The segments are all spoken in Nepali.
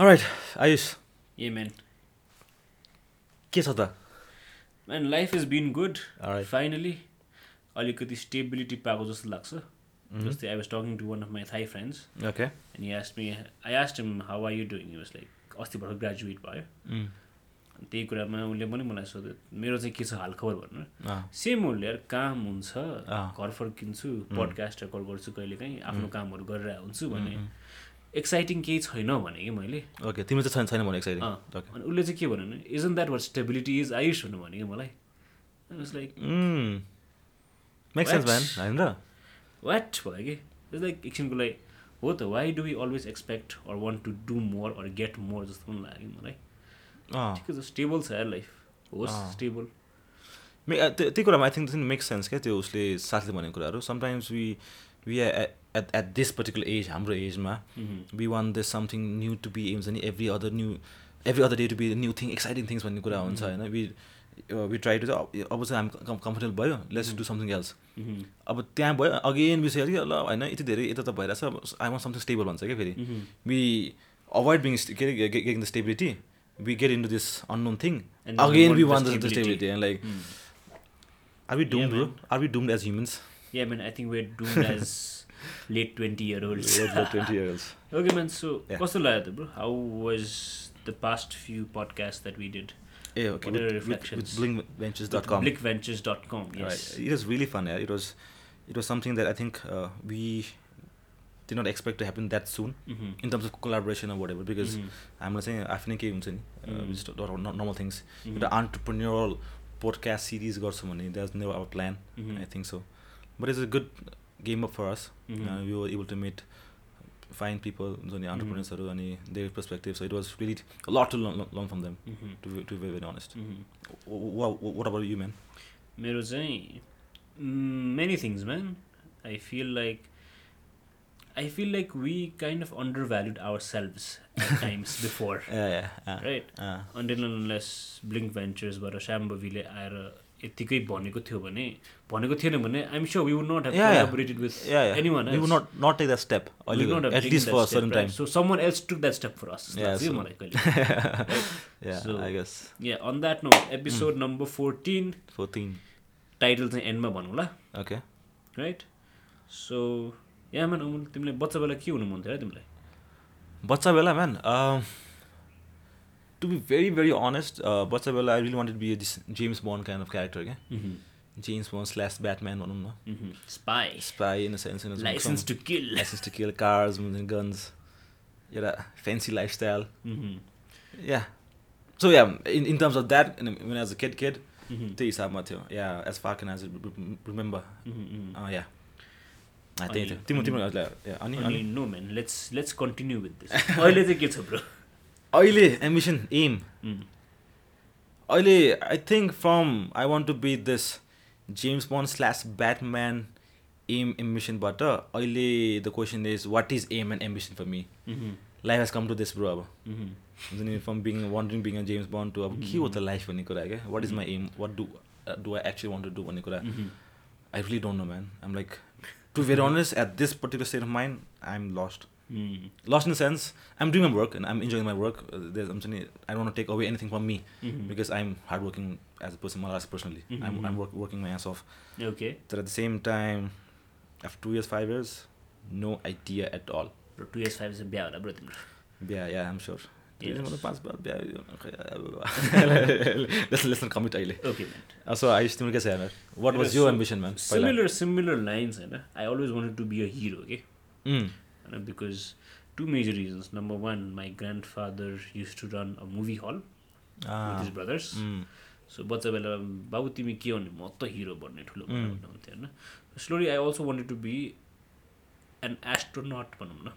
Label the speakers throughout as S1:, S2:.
S1: Right Ayush
S2: Yeah, man.
S1: के छ त
S2: Man, life has been good.
S1: Alright.
S2: Finally, अलिकति स्टेबिलिटी पाएको जस्तो लाग्छ जस्तै I was talking to one of my Thai friends
S1: okay
S2: and asked me I asked him how are you doing use like अस्ति भर्खर ग्रेजुएट भयो
S1: Mm,
S2: अनि त्यही कुरामा उसले पनि मलाई सोध्यो मेरो चाहिँ के छ हालखबर भनेर
S1: ah.
S2: सेम उसले यार काम हुन्छ
S1: अँ।
S2: घर फर्किन्छु पडकास्ट रेकर्ड गर्छु कहिलेकाहीँ आफ्नो कामहरू गरिरहेको हुन्छु भने एक्साइटिङ केही छैन भने कि मैले
S1: ओके तिम्रो चाहिँ छैन छैन भने एक्साइटिङ
S2: अँ।
S1: ओके
S2: अनि उसले चाहिँ के भन्यो भने isn't that what stability is Ayush भन्नु भन्यो कि मलाई लाइक
S1: Mm. मेक सेन्स भएन होइन र
S2: वाट भयो कि इट्स लाइक एकछिनको लागि हो त why do we always expect or want to do more or get more जस्तो पनि लाग्यो मलाई
S1: अँ।
S2: ठिकै छ स्टेबल छ यार लाइफ होस्
S1: अँ।
S2: स्टेबल
S1: मे अ, त्यो त्यो कुरामा आई थिङ्क मेक सेन्स क्या त्यो उसले साथले भनेको कुराहरू sometimes we we at at this particular age हाम्रो एजमा
S2: Mm-hmm.
S1: We want this something new to be हुन्छ नि every other new every other day to be new thing exciting things भन्ने कुरा हुन्छ होइन वी वी ट्राई टु अब चाहिँ हामी कम्फर्टेबल भयो let's do something else
S2: Mm-hmm.
S1: अब त्यहाँ भयो अगेन विषय कि ल होइन यति धेरै यता त भइरहेछ आई वान समथिङ स्टेबल भन्छ क्या फेरि
S2: Mm-hmm.
S1: वी अभोइड बिङ के अरे getting the stability we get into this unknown thing
S2: And we
S1: again
S2: want
S1: we
S2: the
S1: want the
S2: stability.
S1: Stability and like
S2: Mm.
S1: Are we doomed, bro? Are we doomed as humans?
S2: Yeah man I think we're dude as late twenty year old
S1: twenty years.
S2: Okay man so
S1: Yeah.
S2: कस्तो लाग्यो त bro how was the past few podcast that we did
S1: Yeah, okay.
S2: What
S1: With,
S2: are your
S1: with, with
S2: reflections?
S1: blinkventures.com.
S2: Bleak ventures dot com
S1: Right. It was really fun. Yeah. It was, it was something that I think uh, we did not expect to happen that soon
S2: Mm-hmm.
S1: in terms of collaboration or whatever. Because I'm not saying I've
S2: Mm.
S1: just not, not normal things.
S2: Mhm.
S1: Mm-hmm. The entrepreneurial podcast series got some money. That was never our plan.
S2: Mhm.
S1: I think so. But it's a good game up for us. Uh, we were able to meet fine people, the entrepreneurs, and their perspectives. So it was really a lot to learn, learn from them,
S2: Mm-hmm.
S1: to be, to be very honest. What, what about you, man?
S2: मेरो चाहिँ many things man I feel like I feel like we kind of undervalued our selves times before
S1: Yeah, yeah.
S2: Right
S1: Uh,
S2: अन्डेल अनलेस ब्लिङ्क भेन्चर्सबाट श्याम्बवीले आएर यत्तिकै भनेको थियो भने भनेको थिएन भने I'm sure we would not have
S1: Yeah, yeah.
S2: Collaborated with
S1: yeah, yeah.
S2: Any one
S1: We would not, not take that step, at least for a certain time.
S2: So someone else took that step for us
S1: Yeah, so-
S2: मलाई कहिले
S1: yeah,
S2: So-
S1: I guess.
S2: Yeah on that note episode
S1: Mm.
S2: Number fourteen
S1: 14.
S2: Title चाहिँ एन्डमा भनौँ ल
S1: Okay.
S2: राइट सो यहाँ मान अमुल तिमीलाई बच्चा बेला के हुनु मन थियो र तिमीलाई
S1: Bachcha Bella, man. Um, to be very, very honest, uh, Bachcha Bella, I really wanted to be this James Bond kind of character, okay? James Bond slash Batman, भनौँ न।
S2: Mm-hmm. Spy
S1: Spy in a sense, in a
S2: license to kill
S1: license to kill cars and guns you know fancy lifestyle
S2: Mm-hmm.
S1: yeah so yeah in, in terms of that and when i was a kid kid त्यही हिसाबमा थियो yeah as far can as remember
S2: Mm-hmm.
S1: Yeah त्यही थियो
S2: अनि-
S1: तिम्रो तिम्रो हजुर, yeah, अनि
S2: अनि
S1: अनि
S2: no man let's let's continue with this अहिले चाहिँ के छ ब्रो
S1: अहिले एम्बिसन एम
S2: Mm-hmm.
S1: अहिले I think from I want to be this James Bond slash Batman um एम्बिसनबाट अहिले the question is what is um and ambition for me
S2: Mm-hmm.
S1: Life has come to this bro अब हुन्छ नि from being wondering being a James Bond to अब के हो त लाइफ भन्ने कुरा क्या what is my um what do do I actually want to do भन्ने कुरा
S2: Mm-hmm.
S1: I really don't know man I'm like to very honest at this particular state of mind I am lost
S2: Mm-hmm.
S1: Lost in sense I am doing my work and I'm enjoying my work हुन्छ नि I don't take away anything from me
S2: Mm-hmm.
S1: Because I am hard working as a person मलाई personally I'm I'm work working my ass off
S2: okay
S1: तर at the same time after two years five years no idea at all
S2: bro two years five चाहिँ बिहा होला ब्रो तिम्रो
S1: बिहा या आइम स्योर
S2: Yes.
S1: पाँच बार बिहा लेसन लेसन कमिट अहिले
S2: ओके म्यान
S1: सो आयुष तिम्रो के छ यार वाट वाज यो ambition man
S2: similar similar lines होइन I always wanted to be a hero के
S1: Mm.
S2: होइन because two major reasons number one my grandfather used to run a movie hall
S1: Ah.
S2: With his brothers
S1: Mm.
S2: So बच्चा बेला बाबु तिमी के भन्ने म त हिरो भन्ने ठुलो कुरा भन्ने हुन्थ्यो होइन slowly I also wanted to be an astronaut भनौँ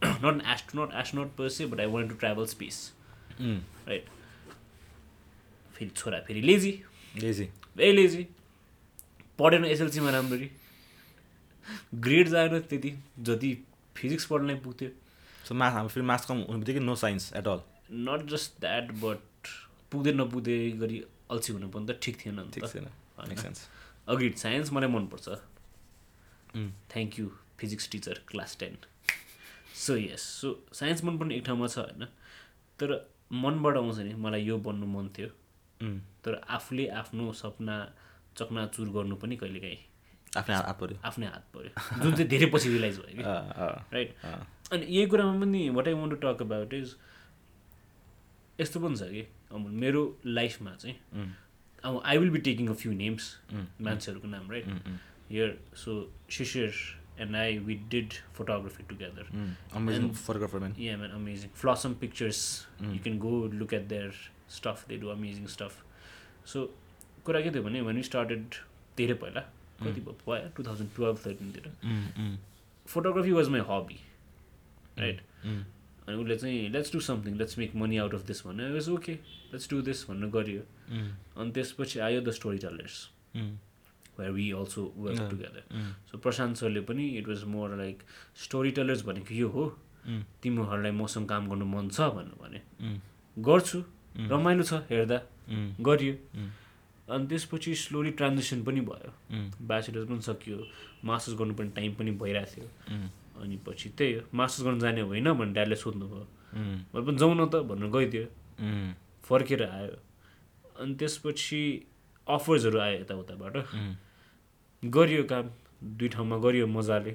S2: न not an astronaut astronaut per se but I want to travel space
S1: mm.
S2: Right फेरि छोरा फेरि लेजी
S1: लेजी
S2: भेरी लेजी पढेन एसएलसीमा राम्ररी ग्रेड आएन त्यति जति फिजिक्स पढ्नै पुग्थ्यो
S1: सो मास हाम्रो फेरि मास कम हुनु बित्तिकै no science at all
S2: not just that but पुग्दै नपुग्दै गरी अल्छी हुनु पनि त ठिक थिएन नि
S1: ठिक
S2: त
S1: छैन
S2: होइन।
S1: मेक सेन्स
S2: अग्रिड साइन्स मलाई मनपर्छ
S1: Mm.
S2: Thank you physics teacher class ten so yes so science मन पनि एक ठाउँमा छ होइन तर मनबाट आउँछ नि मलाई यो बन्नु मन थियो
S1: mm.
S2: तर आफूले आफ्नो सपना चकनाचुर गर्नु पनि कहिलेकाहीँ
S1: आफ्नै हात पऱ्यो
S2: आफ्नै हात पऱ्यो जुन चाहिँ धेरै पछि रियलाइज भयो कि
S1: Uh,
S2: राइट अनि यही कुरामा पनि what I want to talk about is यस्तो पनि छ कि अब मेरो लाइफमा चाहिँ
S1: Mm,
S2: अब I will be taking a few names मान्छेहरूको नाम right here so Shishir and I we did photography together
S1: Mm. Amazing photographer man
S2: Yeah, man, amazing. Flossom Pictures. You can go look at their stuff. They do amazing stuff. So, कुरा के थियो भने when we started धेरै पहिला कति भयो भयो टु थाउजन्ड टुवेल्भ थर्टिनतिर photography was my hobby right अनि उसले चाहिँ let's do something let's make money out of this भन्यो was okay let's do this भन्नु गरियो अनि त्यसपछि आयो the storytellers where we also work together so Prashant सरले पनि it was more like storytellers भनेको यो हो तिमीहरूलाई मसँग काम गर्नु मन छ भन्नु भने गर्छु रमाइलो छ हेर्दा
S1: Mm.
S2: गरियो अनि त्यसपछि स्लोली ट्रान्जेक्सन पनि भयो
S1: Mm.
S2: ब्याचलर्स पनि सकियो मास्टर्स गर्नु पनि टाइम पनि भइरहेको थियो अनि पछि त्यही हो मास्टर्स गर्नु जाने होइन भने ड्याडले सोध्नुभयो मैले पनि जाउँ न त भनेर गइदियो फर्केर आयो अनि त्यसपछि अफर्सहरू आयो यताउताबाट गरियो काम दुई ठाउँमा गरियो मजाले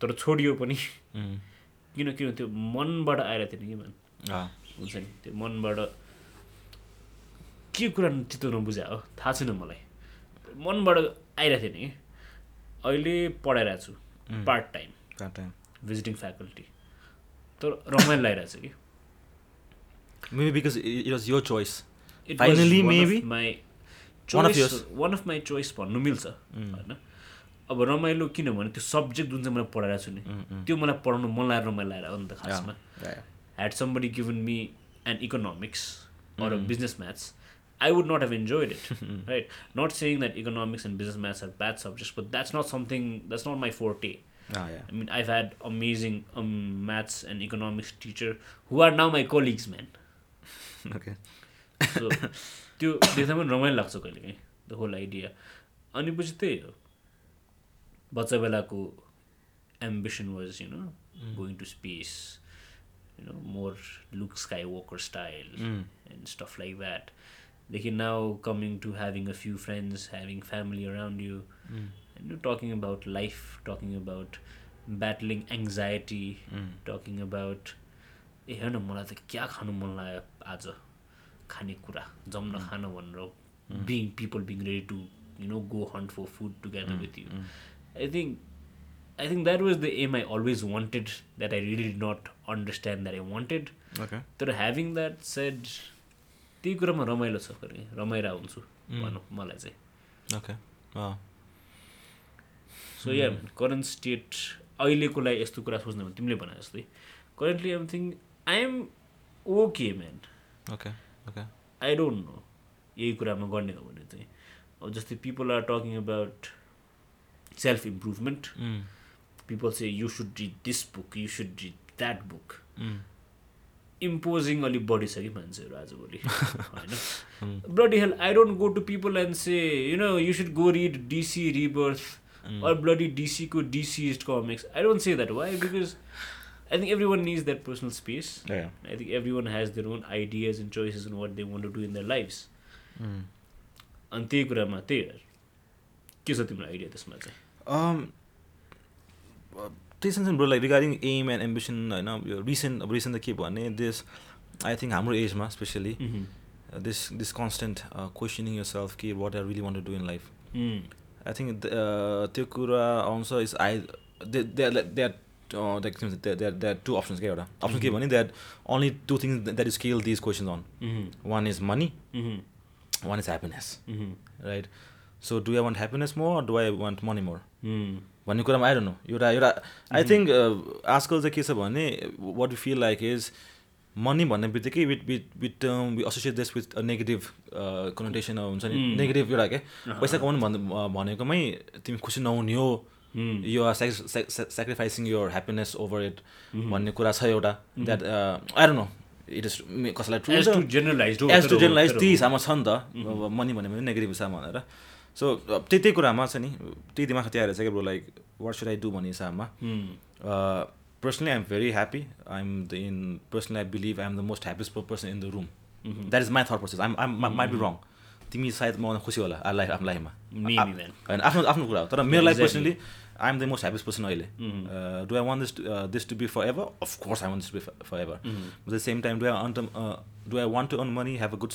S2: तर छोडियो पनि किन किन त्यो मनबाट आएर थिएन कि मान हुन्छ नि त्यो मनबाट के कुरा चित्त नबुझा हो थाहा छैन मलाई मनबाट आइरहेको थिएन कि अहिले पढाइरहेको छु पार्ट टाइम भिजिटिङ फ्याकल्टी तर रमाइलो लागिरहेको छ कि
S1: मेबी बिकज इट वाज यो choice
S2: It was
S1: finally
S2: one of
S1: maybe
S2: my
S1: One of
S2: choice-
S1: yours.
S2: one of my choice भन्नु मिल्छ होइन अब रमाइलो किनभने त्यो सब्जेक्ट जुन चाहिँ मैले पढाइरहेको छु नि Mm. त्यो मलाई पढाउनु मन लागेर रमाइलो लागेर हो नि त खासमा had somebody given me an economics or a business maths, I would not have enjoyed it. right? Not saying that economics and business maths are bad subjects, but that's not something that's not my forte. I mean, I've had amazing um, maths and economics teacher who are now my colleagues, man.
S1: Okay
S2: so त्यो देख्दा पनि रमाइलो लाग्छ कहिले काहीँ द होल आइडिया अनि पछि त्यही हो बच्चा बेलाको ambition was you know going to space you know more Luke Skywalker style and stuff like द्याटदेखि now coming to having a few friends having family around you you know talking about life talking about battling anxiety talking about a हेर्न मलाई त क्या खानु मन लाग्यो आज खानेकुरा जम्न खान भनेर being people being ready to you know go hunt for food together with you I think I think that was the um I always wanted that I really did not understand that I wanted
S1: okay
S2: तर ह्याभिङ द्याट सेड त्यही कुरामा रमाइलो छ कहिले रमाइरह हुन्छु भनौँ मलाई चाहिँ
S1: okay
S2: so yeah current state अहिलेको लागि यस्तो कुरा सोच्नु भने तिमीले भने जस्तै currently um think I am okay man
S1: okay okay
S2: I don't know यही कुरामा गर्ने हो भने चाहिँ अब जस्तै people are talking about self improvement people say you should read this book you should read that book imposing अलिक बढी छ कि मान्छेहरू आजभोलि होइन bloody hell I don't go to people and say you know you should go read DC Rebirth or bloody डिसीको DC is comics I don't say that why because I think everyone needs that personal space I think everyone has their own ideas and choices and what they want to do in their lives. अनि त्यही कुरामा त्यही हो के छ तिम्रो आइडिया त्यसमा चाहिँ
S1: Um, uh, त्यही छ नि bro like regarding um and ambition होइन यो रिसेन्ट अब रिसेन्ट त के भने दिस आई थिङ्क हाम्रो एजमा especially this this constant questioning yourself कि what I really want to do in life
S2: Mm-hmm.
S1: I think त्यो कुरा आउँछ is I that that that that two options क्या एउटा अप्सन के भने that only two things that is केल these question on
S2: Mm-hmm.
S1: One is money one is happiness right so do I want happiness more do I want money more
S2: Mm-hmm.
S1: भन्ने कुरामा आइरहनु एउटा एउटा आई थिङ्क आजकल चाहिँ के छ भने what you feel like is money भन्ने बित्तिकै with with with term we associate this with negative connection uh, हुन्छ नि नेगेटिभ एउटा के पैसा कमाउनु भन्नु अ, भनेकोमै तिमी खुसी नहुने हो you are sacrificing your happiness over it भन्ने कुरा छ एउटा uh, द्याट आएर नो इट इज कसैलाई true
S2: As
S1: हुन्छ।
S2: to generalized हो,
S1: एज
S2: तर
S1: टु
S2: हो,
S1: जेनरलाइज
S2: तर
S1: त्यही
S2: हो।
S1: हिसाबमा छ नि त अब मनी भन्यो भने नेगेटिभ हिसाबमा भनेर सो त्यही
S2: Hmm.
S1: त्यही कुरामा छ नि त्यही दिमाग त्यहाँ रहेछ क्या bro like what should I do भन्ने हिसाबमा personally i'm very happy i'm the in personally i believe i'm the most happiest person in the room
S2: Mm-hmm.
S1: Mm. that is my thought process i'm, I'm I might be wrong तिमी सायद मभन्दा खुसी होला आ लाइफ आफ्नो लाइफमा
S2: Maybe
S1: आ-
S2: then.
S1: होइन आफ्नो आफ्नो कुरा हो तर मेरो life
S2: Exactly.
S1: Personally I am the most happiest person अहिले Uh, do I want this this to be forever of course I want this be forever at the same time do I want do I want to earn money have a good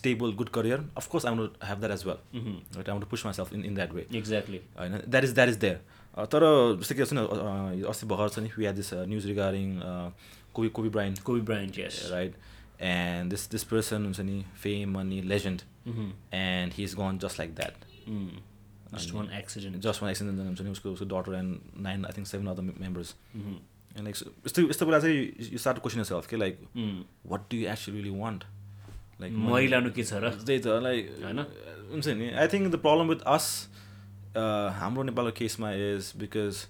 S1: stable good career of course I want have that as well
S2: Mm-hmm.
S1: Right I want to push myself in in that way
S2: exactly
S1: होइन that is that is there Uh, तर जस्तो के छ नि अ, यो अस्ति भर्खर छ नि we have this news regarding Kobe Kobe Bryant
S2: Kobe Bryant yes
S1: right and this this person हुन्छ नि fame money legend
S2: Mm-hmm.
S1: And he is gone just like that
S2: just one accident
S1: just one accident हुन्छ नि उसको उसको daughter and nine I think seven other members
S2: Mm-hmm.
S1: And like यस्तो यस्तो कुरा चाहिँ यु स्टार्ट क्वेसन सेल्फ के like what do you actually want like
S2: मैलानु के छ र
S1: त्यही त लाइक
S2: होइन?
S1: हुन्छ नि I think the problem with us हाम्रो नेपालको केसमा is because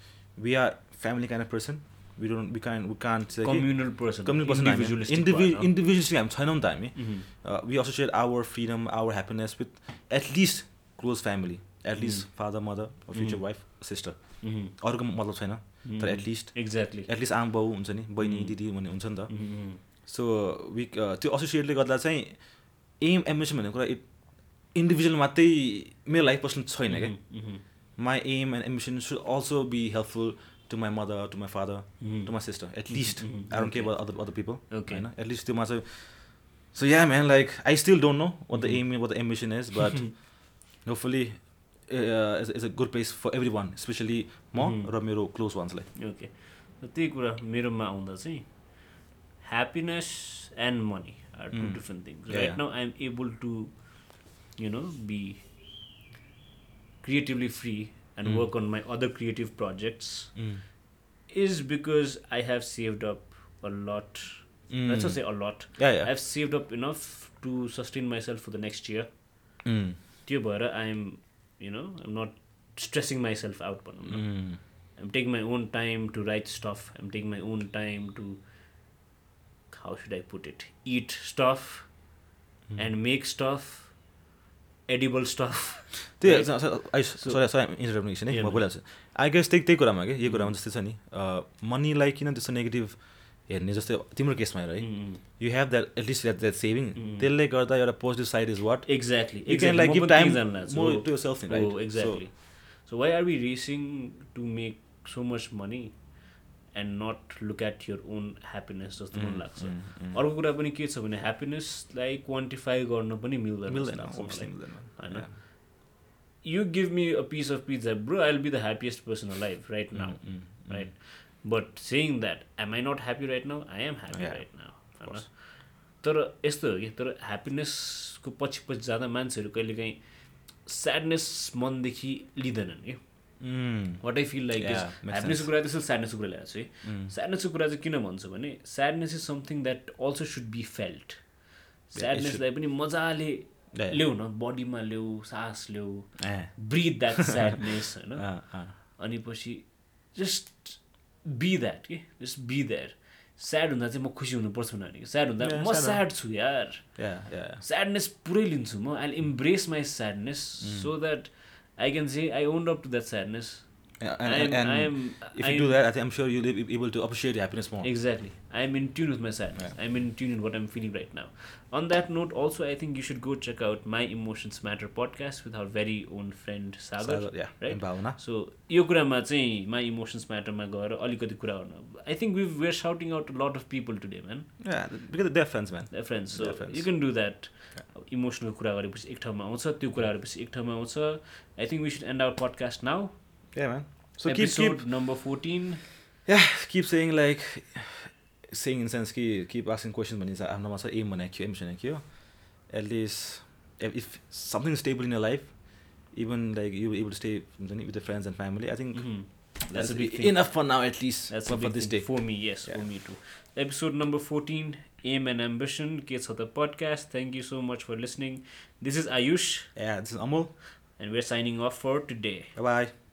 S1: we are family kind of person we don't we can we can
S2: communal person
S1: communal person individualistic हामी छैनौँ नि त हामी we associate our freedom our happiness with at least close family at least father mother future wife sister
S2: Mm-hmm.
S1: अरूको मतलब छैन तर एटलिस्ट
S2: एक्ज्याक्टली
S1: एटलिस्ट आमा बाउ हुन्छ नि बहिनी दिदी भन्ने हुन्छ नि त
S2: Mm-hmm.
S1: सो विक त्यो एसोसिएटले गर्दा चाहिँ एम एम्बिसन भन्ने कुरा इट इन्डिभिजुअल मात्रै मेरो लाइफ पर्सन छैन क्या
S2: Mm-hmm.
S1: My aim and ambition should also be helpful to my mother to my father to my sister at least I don't care other other people
S2: Okay.
S1: होइन एटलिस्ट त्योमा चाहिँ so yeah man like I still don't know what the
S2: Mm-hmm.
S1: Aim what the ambition is but hopefully is a good place for everyone especially म र मेरो क्लोज वान्सलाई
S2: ओके त्यही कुरा मेरोमा आउँदा चाहिँ happiness and money are two different things
S1: Hmm. Yeah,
S2: राइट
S1: yeah.
S2: Now I am able to you know be creatively free and
S1: Hmm.
S2: Work on my other creative projects
S1: Mm.
S2: Is because I have saved up a lot
S1: Mm.
S2: let's not say a lot
S1: Yeah, yeah.
S2: i've saved up enough to sustain myself for the next year
S1: Mm.
S2: त्यो भएर I am you know I'm not stressing myself out भनौँ न
S1: Mm.
S2: I'm taking my own time to write stuff. I'm taking my own time to, how should I put it, eat stuff
S1: Mm. Hmm.
S2: and make stuff, edible stuff.
S1: त्यही
S2: Right? So-
S1: sorry sorry interrupt एकछिन है
S2: Yeah,
S1: म
S2: no.
S1: बोलिहाल्छु आई गेस त्यही त्यही कुरामा कि यो कुरामा जस्तै छ नि मनीलाई किन त्यस्तो नेगेटिभ हेर्ने जस्तै तिम्रो केसमा हेर है
S2: Mm.
S1: You have that at least that that saving त्यसले गर्दा एउटा positive side is what
S2: Exactly.
S1: You can,
S2: exactly.
S1: like,
S2: म
S1: give
S2: पनि त्यही
S1: time
S2: जान्न लाग्छ।
S1: more
S2: हो,
S1: to yourself,
S2: हो,
S1: right? So-
S2: oh, exactly. So, why are we racing to make so much money and not look at your own happiness जस्तो
S1: Hmm,
S2: मलाई लाग्छ अर्को कुरा पनि के छ भने ह्याप्पिनेसलाई क्वान्टिफाई गर्न पनि मिल्दैन जस्तो
S1: मिल्दैन
S2: लाग्छ
S1: obviously
S2: मलाई।
S1: मिल्दैन
S2: I know.
S1: Yeah.
S2: you give me a piece of pizza, bro, I'll be the happiest person alive right
S1: Mm,
S2: now. Right? But saying that, am I not happy right now? I am happy
S1: Yeah,
S2: right now. होइन? तर यस्तो हो कि तर ह्याप्पिनेसको पछि पछि जाँदा मान्छेहरू कहिलेकाहीँ स्याडनेस मनदेखि लिँदैनन् कि
S1: Mm.
S2: What I feel like is
S1: Yeah, makes Mm.
S2: ह्याप्पिनेसको कुरा त्यसरी स्याडनेसको कुरा ल्याएको छु है स्याडनेसको कुरा चाहिँ किन भन्छु भने sadness is something that also should be felt स्याडनेसलाई पनि मजाले
S1: Yeah.
S2: ल्याउ न बडीमा ल्याऊ सास ल्याऊ
S1: ए
S2: ब्रिथ द्याट स्याडनेस होइन
S1: अँ, अँ.
S2: अनि पछि जस्ट बी द्याट के जस्ट बी द्याट स्याड हुँदा चाहिँ म खुसी हुनुपर्छ भनेर भनेको स्याड हुँदा
S1: Yeah,
S2: म
S1: sad
S2: स्याड छु यार
S1: Yeah, yeah.
S2: स्याडनेस पुरै लिन्छु म I embrace my sadness
S1: Mm.
S2: So that I can say I owned up to that sadness
S1: Yeah,
S2: I
S1: and-
S2: am-
S1: and
S2: I am-
S1: if
S2: I
S1: you
S2: am-
S1: do that, I think I'm sure you'll be able to appreciate your happiness more.
S2: Exactly. I'm in tune with my sadness. I'm in tune with what I'm feeling right now. On that note, also, I think you should go check out My Emotions Matter podcast with our very own friend Sagar.
S1: Sagar, yeah,
S2: Right?
S1: and Bhavana.
S2: So, यो कुरामा चाहिँ माई इमोसन्स म्याटरमा गएर अलिकति कुरा गर्नु I think we were shouting out lot of people today man
S1: Yeah, because they're friends, man.
S2: Friends
S1: Yeah, friends.
S2: You can do that emotional कुरा गरेपछि एक ठाउँमा आउँछ त्यो कुराहरूपछि एक ठाउँमा आउँछ I think we should and our podcast now
S1: Yeah, man. So keep keep
S2: episode number fourteen
S1: yeah, keep saying like saying in sense ki keep asking questions when it's I'm not sure aim on aim on At least if, if something is stable in your life, even like you were able to stay with the friends and family, I think
S2: Mm-hmm. That's
S1: that's,
S2: a big thing.
S1: enough for now at least
S2: That's
S1: for,
S2: a
S1: for
S2: big
S1: this
S2: thing
S1: day.
S2: for me. Yes, for
S1: Yeah.
S2: me too. Episode number fourteen, aim and ambition. Kids of the podcast. Thank you so much for listening. This is Ayush,
S1: Yeah, this is Amol.
S2: and we're signing off for today.
S1: Bye bye.